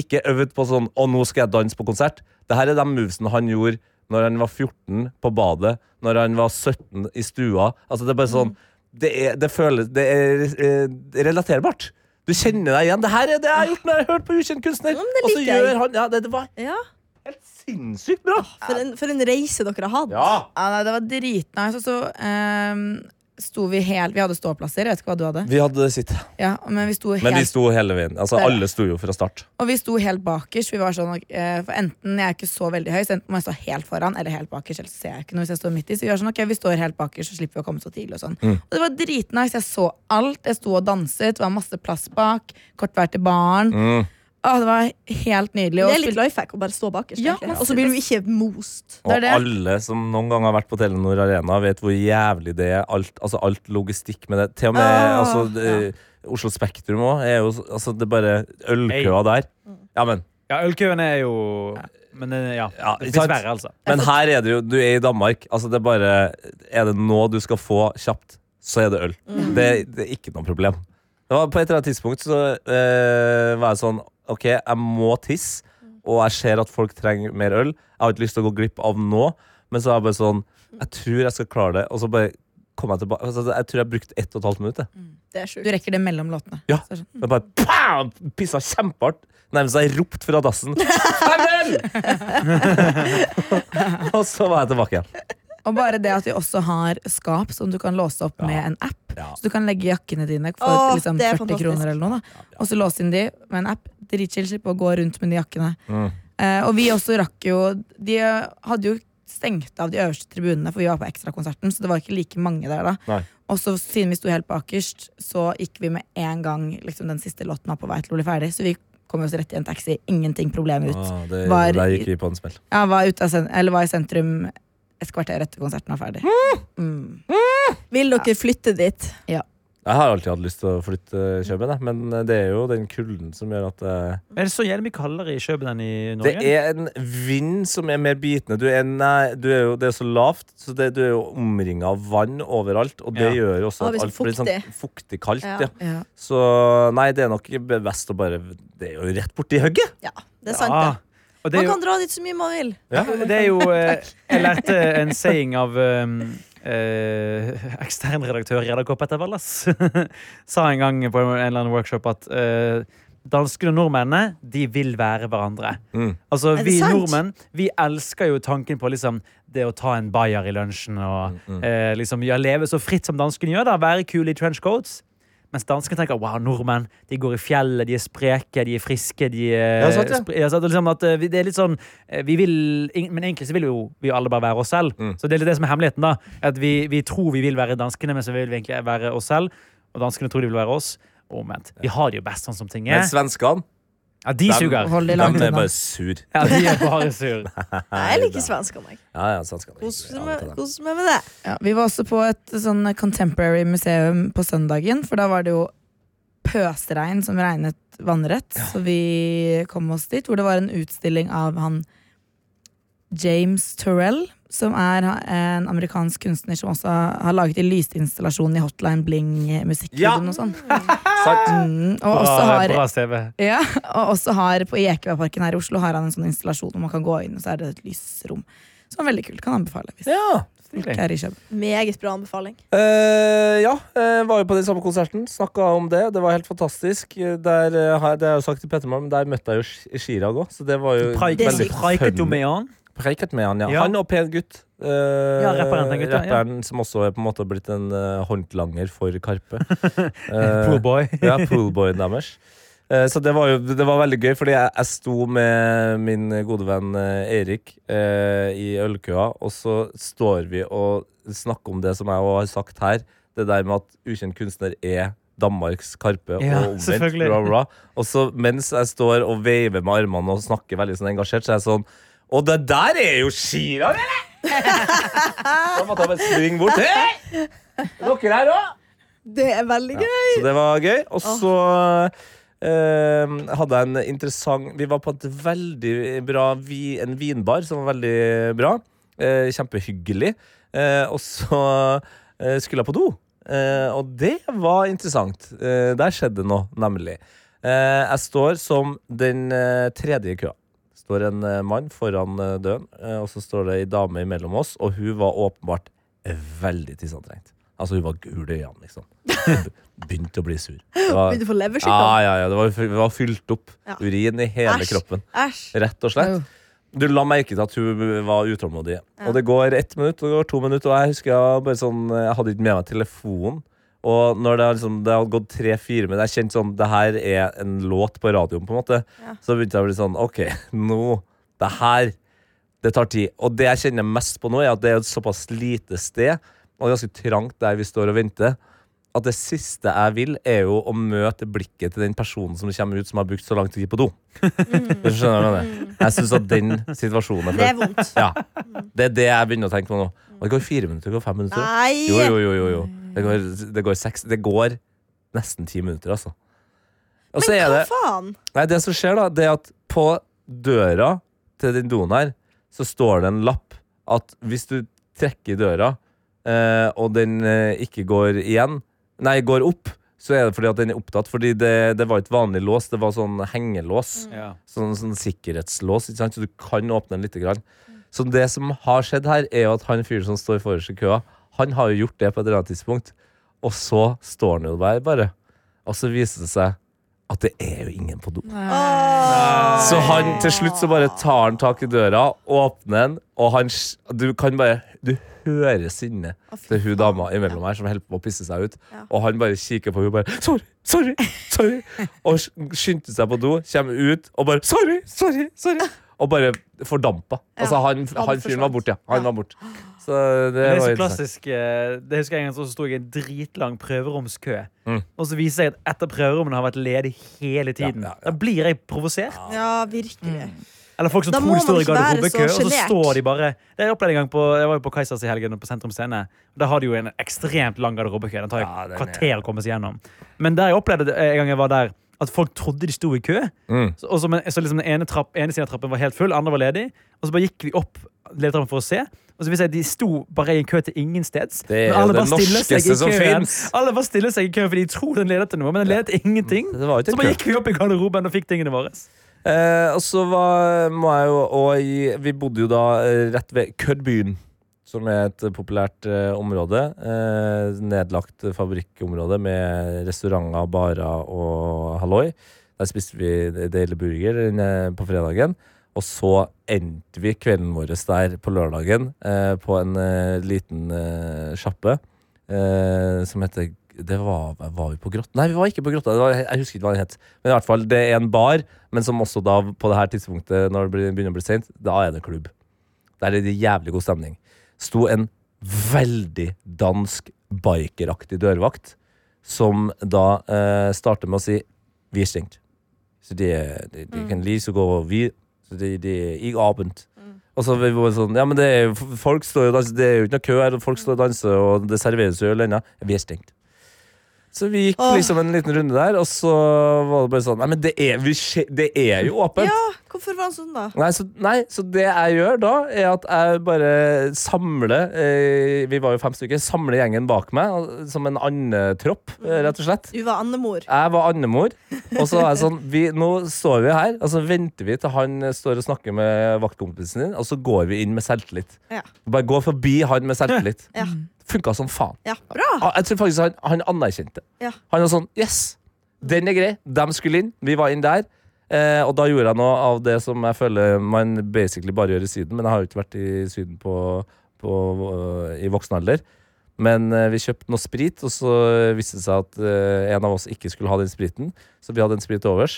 ikke øvd på sånn 'Å, nå skal jeg danse på konsert'. Det her er de movesene han gjorde når han var 14 på badet, når han var 17 i stua. Altså, det er bare
Mm.
sånn Det, er, det føles Det er eh, relaterbart. Du kjenner deg igjen. Det her er det jeg har gjort når jeg har hørt på Ukjent kunstner.
men Mm, det
og så
liker jeg.
gjør han Ja, det, det var
ja.
helt sinnssykt bra.
For, en, for en reise dere har hatt.
Ja, nei, det var dritnice. Og så ehm, sto vi helt Vi hadde ståplasser, jeg vet ikke hva du hadde.
Vi hadde sitt.
Ja, men vi sto helt
Men vi sto hele veien. Altså,
Der.
alle sto jo fra start.
Og vi sto helt bakerst. Vi var sånn, ok, eh, for enten jeg er ikke så veldig høy, så enten må jeg stå helt foran eller helt bakerst. Ellers ser jeg ikke noe hvis jeg står midt i. Så vi var sånn, ok, vi står helt bakerst, så slipper vi å komme så tidlig. Og sånn
Mm.
Og det var dritnice. Jeg så alt. Jeg sto og danset. Det var masse plass bak. Kort vei til baren.
Mm.
Å, det var helt nydelig.
Det
Og
er litt
spil-
life hack å bare stå bakerst.
Ja,
egentlig.
masse-
og så blir du ikke most.
Det er
Og
det.
alle som noen gang har vært på Telenor Arena, vet hvor jævlig det er. Alt, altså alt logistikk med det. Til og med
Ah,
altså, det- Oslo Spektrum òg. Altså, det er bare ølkøa der. Ja, men,
Ja, ølkøen er jo Men eh, ja.
Ja,
Det
ikke sant?
fins verre, altså.
men her er det jo Du er i Danmark. Altså, det er bare Er det nå du skal få kjapt, så er det øl. Det, det er ikke noe problem. Det var på et eller annet tidspunkt så eh, var jeg sånn OK, jeg må tisse, og jeg ser at folk trenger mer øl. Jeg har ikke lyst til å gå glipp av nå, men så er jeg bare sånn Jeg tror jeg skal klare det. Og så bare kom jeg tilbake. Altså, jeg tror jeg brukte ett og et halvt minutt. jeg.
Det er sjukt.
du rekker det mellom låtene.
Ja.
Så er det sånn,
Jeg bare pow! pissa kjempehardt. Nærmest jeg ropt fra dassen. «Fem øl!» og så var jeg tilbake igjen.
Og bare det at vi også har skap som du kan låse opp med en app.
Ja.
Så du kan legge jakkene dine for
Åh,
liksom
det er
40
fantastisk.
kroner eller noe. Da. Og så låse inn de med en app. Dritchill, slippe å gå rundt med de jakkene.
Mm.
Eh, og vi også rakk jo De hadde jo stengt av de øverste tribunene, for vi var på ekstrakonserten, så det var ikke like mange der da.
Nei.
Og så siden vi sto helt bakerst, så gikk vi med en gang liksom, den siste låten var på vei til å bli ferdig. Så vi kom oss rett i en taxi. Ingenting problem ut.
Ah, det,
Var-
der gikk vi på en smell.
Jeg var, ute av sen eller var i sentrum et kvarter etter konserten var ferdig. Mm.
Vil dere flytte dit?
Ja.
Jeg har alltid hatt lyst til å flytte til København, jeg, men eh, det er jo den kulden som gjør at eh,
Er det så jævlig mye kaldere i København enn i
Det
Norge?
er en vind som er mer bitende. Du er, nei, du er jo, det er så lavt, så det, du er jo omringa av vann overalt. Og det
Ja.
gjør jo også
Og det
at
blir
alt
sånn
blir sånn fuktig kaldt.
Ja.
Ja. Så nei, det er nok best å bare Det er jo rett borti hugget!
Ja, det er sant,
Ja.
det.
Ah. Og det er
Man
jo,
kan dra dit så mye man vil.
Ja.
det er jo eh, Jeg lærte en saying av um, eh, eksternredaktør Reda K. Petter Wallas. Sa en gang på en eller annen workshop at eh, danskene og nordmennene de vil være hverandre.
Mm.
Altså,
Er det
vi
sant?
nordmenn vi elsker jo tanken på liksom, det å ta en bayer i lunsjen og
Mm,
eh, liksom, ja, leve så fritt som danskene gjør. da, Være kule i trenchcoats. Mens danskene tenker wow, nordmenn de går i fjellet, de er spreke, de er friske. de er...
Ja, sant, ja.
spre- ja, sant, og liksom at, eh, vi- det er litt sånn, eh, vi vil, ing- Men egentlig så vil jo vi alle bare være oss selv.
Mm.
Så det er litt det som er hemmeligheten. da, at Vi, vi tror vi vil være danskene, men så vil vi egentlig være oss selv. Og danskene tror de vil være oss. Og Omvendt. Vi har det jo best sånn som ting
Men
er.
svenskene,
Ja, de
dem-
suger.
Hold det
de
langt
er
unna.
bare sur.
Ja, de er bare sur.
Nei, jeg liker svenskene, jeg.
Ja, ja, svenskene. er
Kos
ikke- ja,
meg
det er det.
kos meg med det.
Ja, vi var også på et sånn contemporary museum på søndagen, for da var det jo pøsregn som regnet vannrett, så vi kom oss dit, hvor det var en utstilling av han James Turrell, som er ha- en amerikansk kunstner som også har laget en lysinstallasjon i Hotline
Ja.
Bling-musikkvideoen og sånn.
Sant.
Mm, og
Bra,
også har
bra CV.
ja, og også har på Ekebergparken her i Oslo har han en sånn installasjon hvor man kan gå inn, og så er det et lysrom. Som er veldig kult. Kan anbefale hvis
Ja.
folk er i København.
Meget bra anbefaling.
Eh, ja, eh, var jo på den samme konserten. Snakka om det. Det var helt fantastisk. Eh, Der, eh, har jeg- det har jeg jo sagt til Petter Malm, der møtte jeg jo Sh- Chirag òg, så det var jo
Det er
veldig
sykt.
Preiket du
funny.
med han?
Preiket med han, ja.
Ja.
Han og pen gutt. Eh,
rapperen, den gutten, ja.
rapperen som også er på en måte blitt en eh, håndlanger for Karpe.
Poor
Eh,
boy.
ja, poolboyen deres. Eh, Så det var jo det var veldig gøy, fordi jeg, jeg sto med min gode venn eh, Eirik eh, i ølkøa, og så står vi og snakker om det som jeg også har sagt her, det der med at ukjent kunstner er Danmarks Karpe
Ja,
og omvendt.
selvfølgelig.
Bla, bla. Og så mens jeg står og veiver med armene og snakker veldig sånn engasjert, så er jeg sånn Og det der er jo Chirag, eller?! da måtte jeg bare springe bort. Hei! Er Dere her òg?
Det er veldig gøy.
Så det var gøy. Og så eh, hadde jeg en interessant Vi var på et veldig bra vi, en vinbar som var veldig bra. Eh, kjempehyggelig. Eh, og så eh, skulle jeg på do. Eh, og det var interessant. Eh, der skjedde det noe, nemlig. Eh, jeg står som den eh, tredje i køa. Står en eh, mann foran eh, døren, eh, og så står det ei dame imellom oss, og hun var åpenbart veldig tisseantrengt. Altså, hun var gul i øynene, liksom. Begynte å bli sur. Det var,
Begynte å få leversykdom.
ja, Ah, ja, ja, det var, det var fylt opp.
Ja.
Urin i hele
Æsj.
kroppen.
Æsj.
Rett og slett.
Oh,
Du la merke til at hun var utålmodig. Og det går ett minutt, og det går to minutter, og jeg husker jeg bare sånn Jeg hadde ikke med meg telefonen. Og når det, har liksom, det hadde gått tre-fire minutter, jeg kjente sånn Det her er en låt på radioen, på en måte. Så begynte jeg å bli sånn OK, nå Det her Det tar tid. Og det jeg kjenner mest på nå, er at det er et såpass lite sted, og ganske trangt der vi står og venter, at det siste jeg vil, er jo å møte blikket til den personen som kommer ut, som har brukt så lang tid på do. Hvis du skjønner hva jeg mener. Jeg syns at den situasjonen
Det er vondt.
ja. Det er det jeg begynner å tenke på nå. Og det går fire minutter, det går fem minutter.
Nei!
Jo, jo, jo, jo, jo. Det, går, det går seks Det går nesten ti minutter, altså. Og så
Men
er
hva
det
faen?
Nei, det som skjer, da, det er at på døra til den doen her, så står det en lapp at hvis du trekker i døra, eh, og den eh, ikke går igjen Nei, går opp, så er det fordi at den er opptatt. Fordi det, det var ikke vanlig lås, det var sånn hengelås
Ja.
sånn, sånn sikkerhetslås, ikke sant? så du kan åpne den litt. Grann. Så det som har skjedd her, er jo at han fyren som står forrest i køa, han har jo gjort det på et eller annet tidspunkt, og så står han jo der bare. Og så viser det seg at det er jo ingen på do. Så han til slutt så bare tar han tak i døra, åpner den, og han s- Du kan bare Du hører sinnet til hun dama imellom her som holder på å pisse seg ut, og han bare kikker på henne og bare Sorry, sorry, sorry. Og s- skyndte seg på do, kommer ut og bare Sorry, sorry, sorry. Og bare fordampa. Altså, han, han fyren var borte, ja. Han var borte. Så det,
Det er
var
så
interessant.
klassisk. eh, Det husker jeg en gang så sto jeg i en dritlang prøveromskø.
Mm.
Og så viser jeg at etter prøverommene har vært ledig hele tiden.
Ja, ja, ja.
Da blir jeg provosert.
Mm.
Ja, virkelig.
Eller folk som
Da
tror
må
de står
man
i
ikke være
garderobekø,
så
og så
sjenert.
står de bare Det Jeg opplevde en gang på, jeg var jo på Kaizers i helgen, og på Sentrum Scene. Da har de jo en ekstremt lang garderobekø. Den tar jo
Ja, den er-
kvarter å komme seg gjennom. Men der jeg opplevde det, eh, en gang jeg var der, at folk trodde de sto i kø.
Mm.
Så, og så, men, så liksom den ene, trapp, ene siden av trappen var helt full, andre var ledig. Og så bare gikk vi opp ledetrappen for å se. Og så vil jeg si at De sto bare i en kø til ingensteds.
Det er
Men
jo
alle
det
bare stiller seg i
norskeste som
køen.
finnes.
Alle bare stiller seg i køen fordi de tror den leder til noe, men den leder til ingenting.
Det var jo
Så
ikke
bare
kø.
gikk vi opp i garderoben og fikk tingene våre.
Eh, og så var, må jeg jo og i- Vi bodde jo da eh, rett ved Køddbyen, som er et populært eh, område. Eh, nedlagt fabrikkområde med restauranter, barer og halloi. Der spiste vi deilig burger eh, på fredagen. Og så endte vi kvelden vår der på lørdagen eh, på en eh, liten eh, sjappe eh, som heter det var, var vi på Grotta? Nei, vi var ikke på Grotta. Det var, jeg husker ikke hva den het. Men i hvert fall, det er en bar, men som også da, på det her tidspunktet, når det blir- begynner å bli seint, da er det klubb. Der er det jævlig god stemning. Sto en veldig dansk bikeraktig dørvakt, som da eh, starter med å si 'vi er stengt'. Så det de, de kan like så gå vi, så det de er ikke åpent. Og så vi var sånn, ja men det er, jo- f- folk står jo og danser, det er jo ikke noe kø her, og folk står og danser, og det serveres jo øl ennå. Vi er stengt. Så vi gikk
Åh.
liksom en liten runde der, og så var det bare sånn, nei men det er, vi, skje- det er jo åpent.
Ja, hvorfor var han sånn, da?
Nei så, nei, så det jeg gjør da, er at jeg bare samler eh, Vi var jo fem stykker. Samler gjengen bak meg og- som en andetropp, eh, rett og slett.
Du var andemor.
Jeg var andemor, og så var jeg sånn vi, Nå står vi her, og så venter vi til han eh, står og snakker med vaktkompisen din, og så går vi inn med selvtillit.
Ja.
Bare gå forbi han med selvtillit.
Ja.
Funka som faen.
Ja, bra.
Ah, Jeg tror faktisk han, han anerkjente det.
Ja.
Han var sånn Yes, den er grei. De skulle inn. Vi var inn der. Eh, og da gjorde jeg noe av det som jeg føler man basically bare gjør i Syden. Men jeg har jo ikke vært i Syden på, på, eh, i voksen alder. Men eh, vi kjøpte noe sprit, og så viste det seg at eh, en av oss ikke skulle ha den spriten. Så vi hadde en sprit til overs.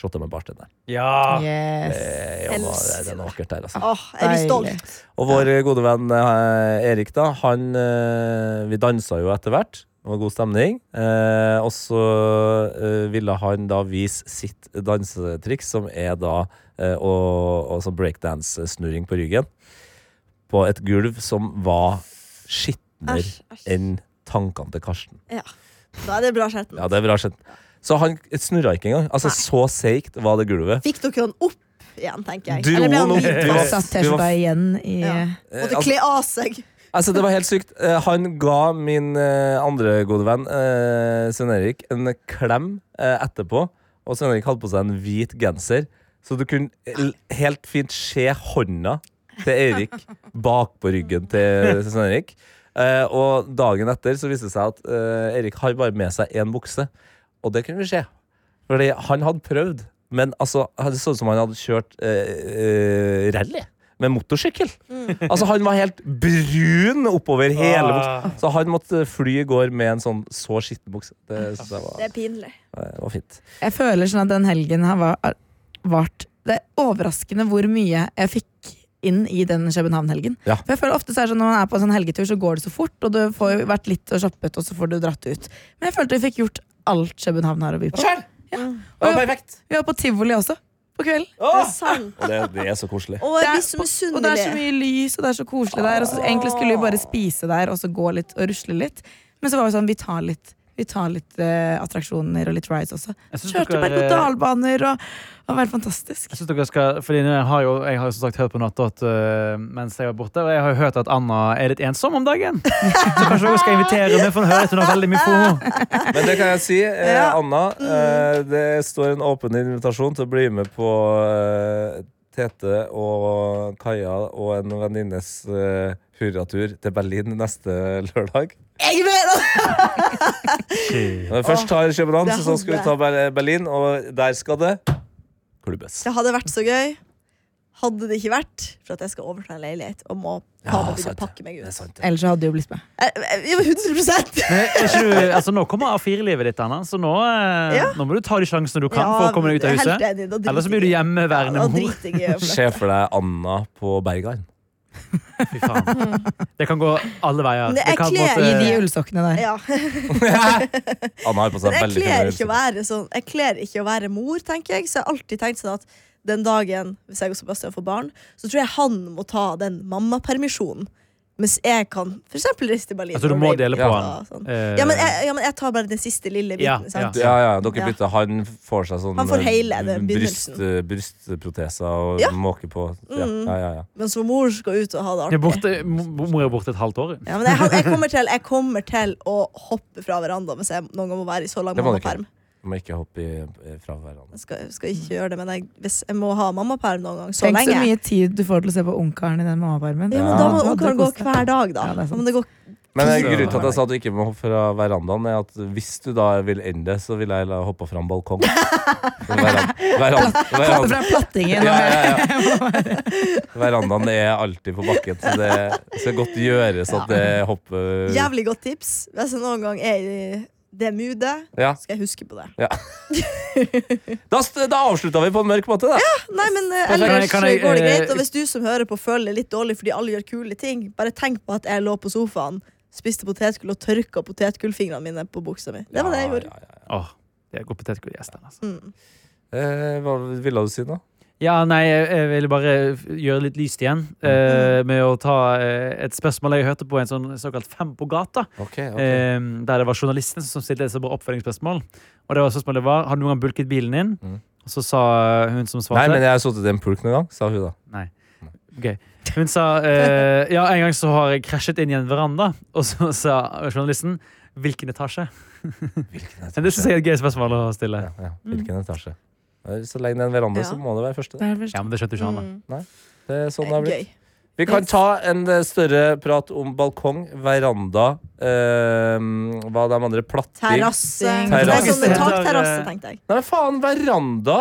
Shotta med bartenderen.
Ja.
Yes.
Ah. Eh, og da- det er noe vakkert der, altså.
Åh, er du
Deilig.
stolt?
Og vår gode venn eh, Erik, da, han eh, Vi dansa jo etter hvert. Det var god stemning. Eh, og så eh, ville han da vise sitt dansetriks, som er da eh, å, å sånn breakdance-snurring på ryggen. På et gulv som var skitner
Æsj, æsj.
enn tankene til Karsten.
Ja. Da er det bra, Skjerten.
Ja, det er bra skjønt. Så han snurra ikke engang. Altså, så seigt var det gulvet.
Fikk dere han opp igjen, tenker jeg?
Dro
Eller ble han
han opp?
hvit
Vi var-
fast?
Satt
vi var-
T-skjorta igjen i
Ja.
Eh,
Måtte kle av seg.
Altså, det var helt sykt. Eh, Han ga min eh, andre gode venn, eh, Svein-Erik, en klem eh, etterpå. Og Svein-Erik hadde på seg en hvit genser, så du kunne l- helt fint se hånda til Eirik bakpå ryggen til Svein-Erik. Eh, og dagen etter så viste det seg at eh, Eirik har bare med seg én bukse, og det kunne vi se. Fordi han hadde prøvd, men altså, det så ut som han hadde kjørt eh, eh, rally med motorsykkel. Altså Han var helt brun oppover
Ah.
hele buksa. Så han måtte fly i går med en sånn så skitten bukse. Det synes jeg
Det
var,
er pinlig.
det var fint.
Jeg føler sånn at den helgen har va- vart Det er overraskende hvor mye jeg fikk inn i den København-helgen.
Ja.
For jeg føler ofte så er det sånn Når man er på en sånn helgetur, så går det så fort, og du får jo vært litt og shoppet, og så får du dratt ut. Men jeg følte vi fikk gjort alt København har å by på. Ja. Og vi,
perfekt!
vi var på tivoli også, på kvelden.
Det er sant.
Og det, det er så koselig.
Og jeg blir så
og det er så
misunnelig.
mye lys, og det er så koselig der. Og så Egentlig skulle vi bare spise der og så gå litt og rusle litt. Men så var vi sånn, vi tar litt Vi tar litt eh, attraksjoner og litt rides også.
Jeg synes
Kjørte
dere-
berg-og-dal-baner, og det har vært fantastisk.
Jeg synes dere skal, fordi nå har jo, jeg har jo som sagt hørt på Nattdott øh, mens jeg var borte, og jeg har jo hørt at Anna er litt ensom om dagen. Så kanskje dere skal invitere henne, for hun hører at hun har veldig mye fomo.
Men det kan jeg si, eh, Anna. Eh, det står en åpen invitasjon til å bli med på eh, Tete og Kaja og en venninnes eh, hurratur til Berlin neste lørdag.
Jeg mener
Når vi først tar København,
det
så skal vi ta Ber- Berlin, og der skal det klubbes.
Det hadde vært så gøy. Hadde det ikke vært for at jeg skal overta en leilighet og må
Ja,
faen meg begynne
sant
å pakke meg
Det er
ut. Eh,
sant.
Ellers så hadde du jo blitt med.
Jeg, jeg, jeg, var 100
Men er ikke du- Altså, nå kommer A4-livet ditt, Anna, så nå, øh,
Ja.
nå må du ta de sjansene du kan for å komme deg ut av
Helt
huset.
enig. Da driter
Ellers så blir du
jeg i-
hjemmeværende
Ja, da
mor.
driter jeg i å flytte.
Se for deg Anna på Bergheim.
Fy faen. Det kan gå alle veier.
Mm. Men
Det kan, på en
jeg kler-
I de
Eh,
måte,
ullsokkene der.
Ja.
Anna har på seg
Men jeg
veldig
kler
fine
ikke å være sånn Jeg kler ikke å være mor, tenker jeg. Så jeg har alltid tenkt sånn at den dagen hvis jeg og Sebastian får barn, så tror jeg han må ta den mammapermisjonen. Mens jeg kan for eksempel reise til Berlin.
Altså, du
og
må
rape
dele på
og
han.
sånn.
Eh,
Ja men, jeg, ja, men jeg tar bare den siste lille
Ja,
biten. sant?
Ja, ja, dere bytter. Han får seg sånn
Han får
eh,
hele den
bryst, eh, brystproteser og
Ja. Mm.
måker på. Ja, ja, ja, ja.
Mens hun mor skal ut og ha det
Jeg er
artig.
borte, mo- mor er borte et halvt år.
Ja, men jeg, jeg, kommer til, jeg kommer til å hoppe fra verandaen hvis jeg noen gang må være i så lang
Det må du ikke.
mammaperm.
De må ikke hoppe i, eh, fra hverandre.
Jeg skal, skal ikke gjøre det, men jeg, hvis jeg må ha mammaperm noen gang, så
Tenk så
lenge
mye tid du får til å se på ungkaren i den mammapermen.
Ja, men Da må
Ja, det
ungkaren gå
koster.
hver dag, da.
Ja, det er sant.
da må det gå
Men eh,
Så-
grunnen til at jeg sa at du ikke må hoppe fra verandaen, er at hvis du da vil ende, så vil jeg la hoppe fra en balkong. Veran- veran-
Hoppe
veran-
fra plattingen.
Ja,
og-
ja, ja. Verandaen er alltid på bakken, så det skal godt gjøres at det hopper
jævlig godt tips. Hvis jeg noen gang er i det moodet,
Ja.
skal jeg huske på det.
Da, st- da avslutta vi på en mørk måte, da.
Nei, men eh,
Kan jeg-
ellers
kan jeg,
går det
eh,
greit. Og hvis du som hører på føler det litt dårlig fordi alle gjør kule ting, bare tenk på at jeg lå på sofaen, spiste potetgull og tørka potetgullfingrene mine på buksa mi. Det var det jeg gjorde.
Ja, ja, ja.
Åh, det er god potetgull i gjesten, altså.
Mm.
Eh, hva ville du si nå?
Ja, nei, jeg jeg ville bare f- gjøre litt lyst igjen eh, med å ta eh, et spørsmål jeg hørte på en sånn såkalt Fem på gata,
Ok,
eh, der det var journalisten som stilte et så bra oppfølgingsspørsmål. Og det var spørsmålet var har du noen gang bulket bilen din?
Mm.
Og så sa eh, hun som
Nei,
svarte
men jeg har sittet i en pulk noen gang, sa hun da.
Hun sa eh, ja, en gang så har jeg krasjet inn i en veranda, og så sa journalisten hvilken etasje?
Hvilken
Men Det synes jeg er et gøy spørsmål å stille.
Ja, ja. Hvilken etasje? Eh, Så lenge det er en veranda, så
Ja.
må det være første.
Det er vel-
Ja, men det skjønte jo ikke han. da.
Mm.
Det er sånn det har blitt.
Gøy.
Vi kan ta en eh, større prat om balkong, veranda, eh, hva de andre platting
Terrasse.
Terrasse.
Det er sånn med takterrasse,
Terrasse.
tenkte jeg.
Nei, men faen, veranda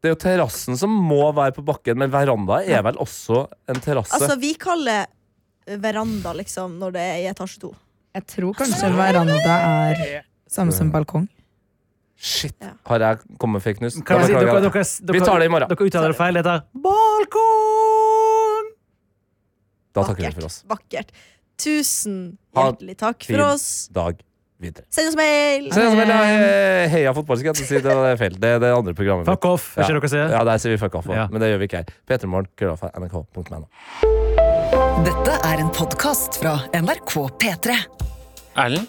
Det er jo terrassen som må være på bakken, men veranda er vel også en terrasse?
Altså, vi kaller veranda liksom når det er i etasje to.
Jeg tror kanskje veranda er samme som balkong.
Shit,
Ja.
har jeg kommet fake news?
Kan
Da
jeg si, dere,
beklager jeg.
dere, dere,
Vi tar det i morgen.
Dere uttaler det feil. Det heter balkong!
Da takker vi for oss.
Vakkert. Tusen
Ha
hjertelig takk
fin.
for oss.
Dag videre.
Send oss mail!
Se, altså, men, eh, Heia fotball, skal jeg ikke si. Det var feil. Det er det andre programmet.
Fuck off, er
Ja.
ikke det dere sier?
Ja, der sier vi fuck off, også,
Ja.
men det gjør vi ikke her. P3morgen, krøllalfa, nrk.no.
Dette er en podkast fra NRK P3.
Erlend,